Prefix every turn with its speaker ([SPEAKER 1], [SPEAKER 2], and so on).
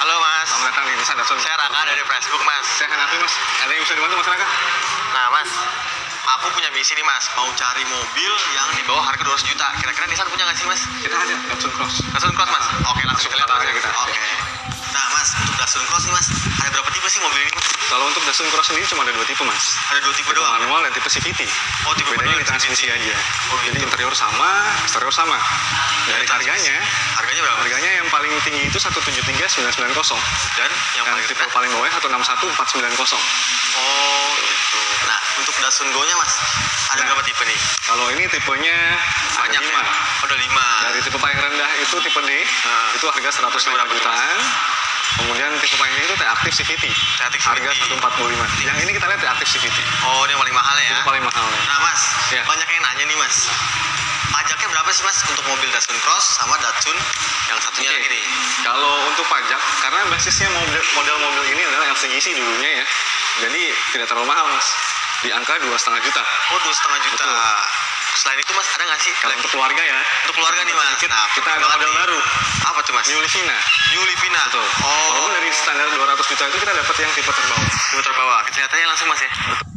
[SPEAKER 1] nggak tahu nih Mas Anderson.
[SPEAKER 2] Saya Raka dari Facebook mas.
[SPEAKER 1] Saya Hanafi Mas. Ada yang bisa dibantu Mas Raka?
[SPEAKER 2] Nah mas, aku punya misi nih mas, mau cari mobil yang di bawah harga 200 juta. Kira-kira Nissan punya nggak sih mas?
[SPEAKER 1] Kita ada Datsun Cross.
[SPEAKER 2] Datsun Cross mas. Oke langsung kita lihat mas.
[SPEAKER 1] Langsung kita.
[SPEAKER 2] Oke. Nah mas, untuk Datsun Cross nih mas, ada berapa tipe sih mobil ini mas?
[SPEAKER 1] Kalau untuk Datsun Cross sendiri cuma ada dua tipe Mas.
[SPEAKER 2] Ada dua tipe
[SPEAKER 1] Tipe
[SPEAKER 2] doang.
[SPEAKER 1] manual dan tipe CVT.
[SPEAKER 2] Oh, tipe
[SPEAKER 1] Bedanya
[SPEAKER 2] manual
[SPEAKER 1] di
[SPEAKER 2] dan
[SPEAKER 1] transmisi aja.
[SPEAKER 2] Oh,
[SPEAKER 1] Jadi
[SPEAKER 2] gitu.
[SPEAKER 1] interior sama, eksterior sama. Dari harganya,
[SPEAKER 2] Harganya berapa? Mas?
[SPEAKER 1] harganya yang paling tinggi itu 173.990.
[SPEAKER 2] Dan yang
[SPEAKER 1] Dan
[SPEAKER 2] paling
[SPEAKER 1] tipe
[SPEAKER 2] rendah?
[SPEAKER 1] paling bawahnya 161490.
[SPEAKER 2] Oh gitu. Nah untuk Datsun Go nya mas, ada
[SPEAKER 1] Nah.
[SPEAKER 2] berapa tipe nih?
[SPEAKER 1] Kalau ini tipenya ada
[SPEAKER 2] Banyak
[SPEAKER 1] lima.
[SPEAKER 2] ya? Oh, Ada lima.
[SPEAKER 1] Dari tipe paling rendah itu tipe D,
[SPEAKER 2] Nah.
[SPEAKER 1] itu harga 105
[SPEAKER 2] Berapa tuh, Mas?
[SPEAKER 1] jutaan. Kemudian tipe paling tinggi itu T-Active CVT,
[SPEAKER 2] T-Active
[SPEAKER 1] harga
[SPEAKER 2] CVT. Iya.
[SPEAKER 1] 145. Yang ini kita lihat T-Active CVT,
[SPEAKER 2] Oh ini yang paling mahal ya?
[SPEAKER 1] itu paling mahal.
[SPEAKER 2] Nah mas,
[SPEAKER 1] Ya.
[SPEAKER 2] banyak yang nanya nih mas Pajaknya berapa sih mas untuk mobil Datsun Cross sama Datsun yang satunya
[SPEAKER 1] Oke.
[SPEAKER 2] lagi nih?
[SPEAKER 1] Kalau untuk pajak, karena basisnya mobil- model-model ini adalah LCGC dulunya ya, jadi tidak terlalu mahal mas, di angka dua setengah juta.
[SPEAKER 2] Oh dua setengah juta
[SPEAKER 1] Betul.
[SPEAKER 2] Selain itu mas ada nggak sih?
[SPEAKER 1] Kalau
[SPEAKER 2] lagi-
[SPEAKER 1] untuk keluarga ya,
[SPEAKER 2] untuk keluarga nih mas
[SPEAKER 1] sedikit,
[SPEAKER 2] Nah,
[SPEAKER 1] kita
[SPEAKER 2] penting
[SPEAKER 1] ada
[SPEAKER 2] banget
[SPEAKER 1] model
[SPEAKER 2] nih.
[SPEAKER 1] baru,
[SPEAKER 2] Apa tuh mas?
[SPEAKER 1] New Livina.
[SPEAKER 2] New Livina
[SPEAKER 1] Betul.
[SPEAKER 2] Oh
[SPEAKER 1] Walaupun dari standar 200 juta itu kita dapat yang tipe terbawah.
[SPEAKER 2] Muter bawah, kelihatannya langsung mas ya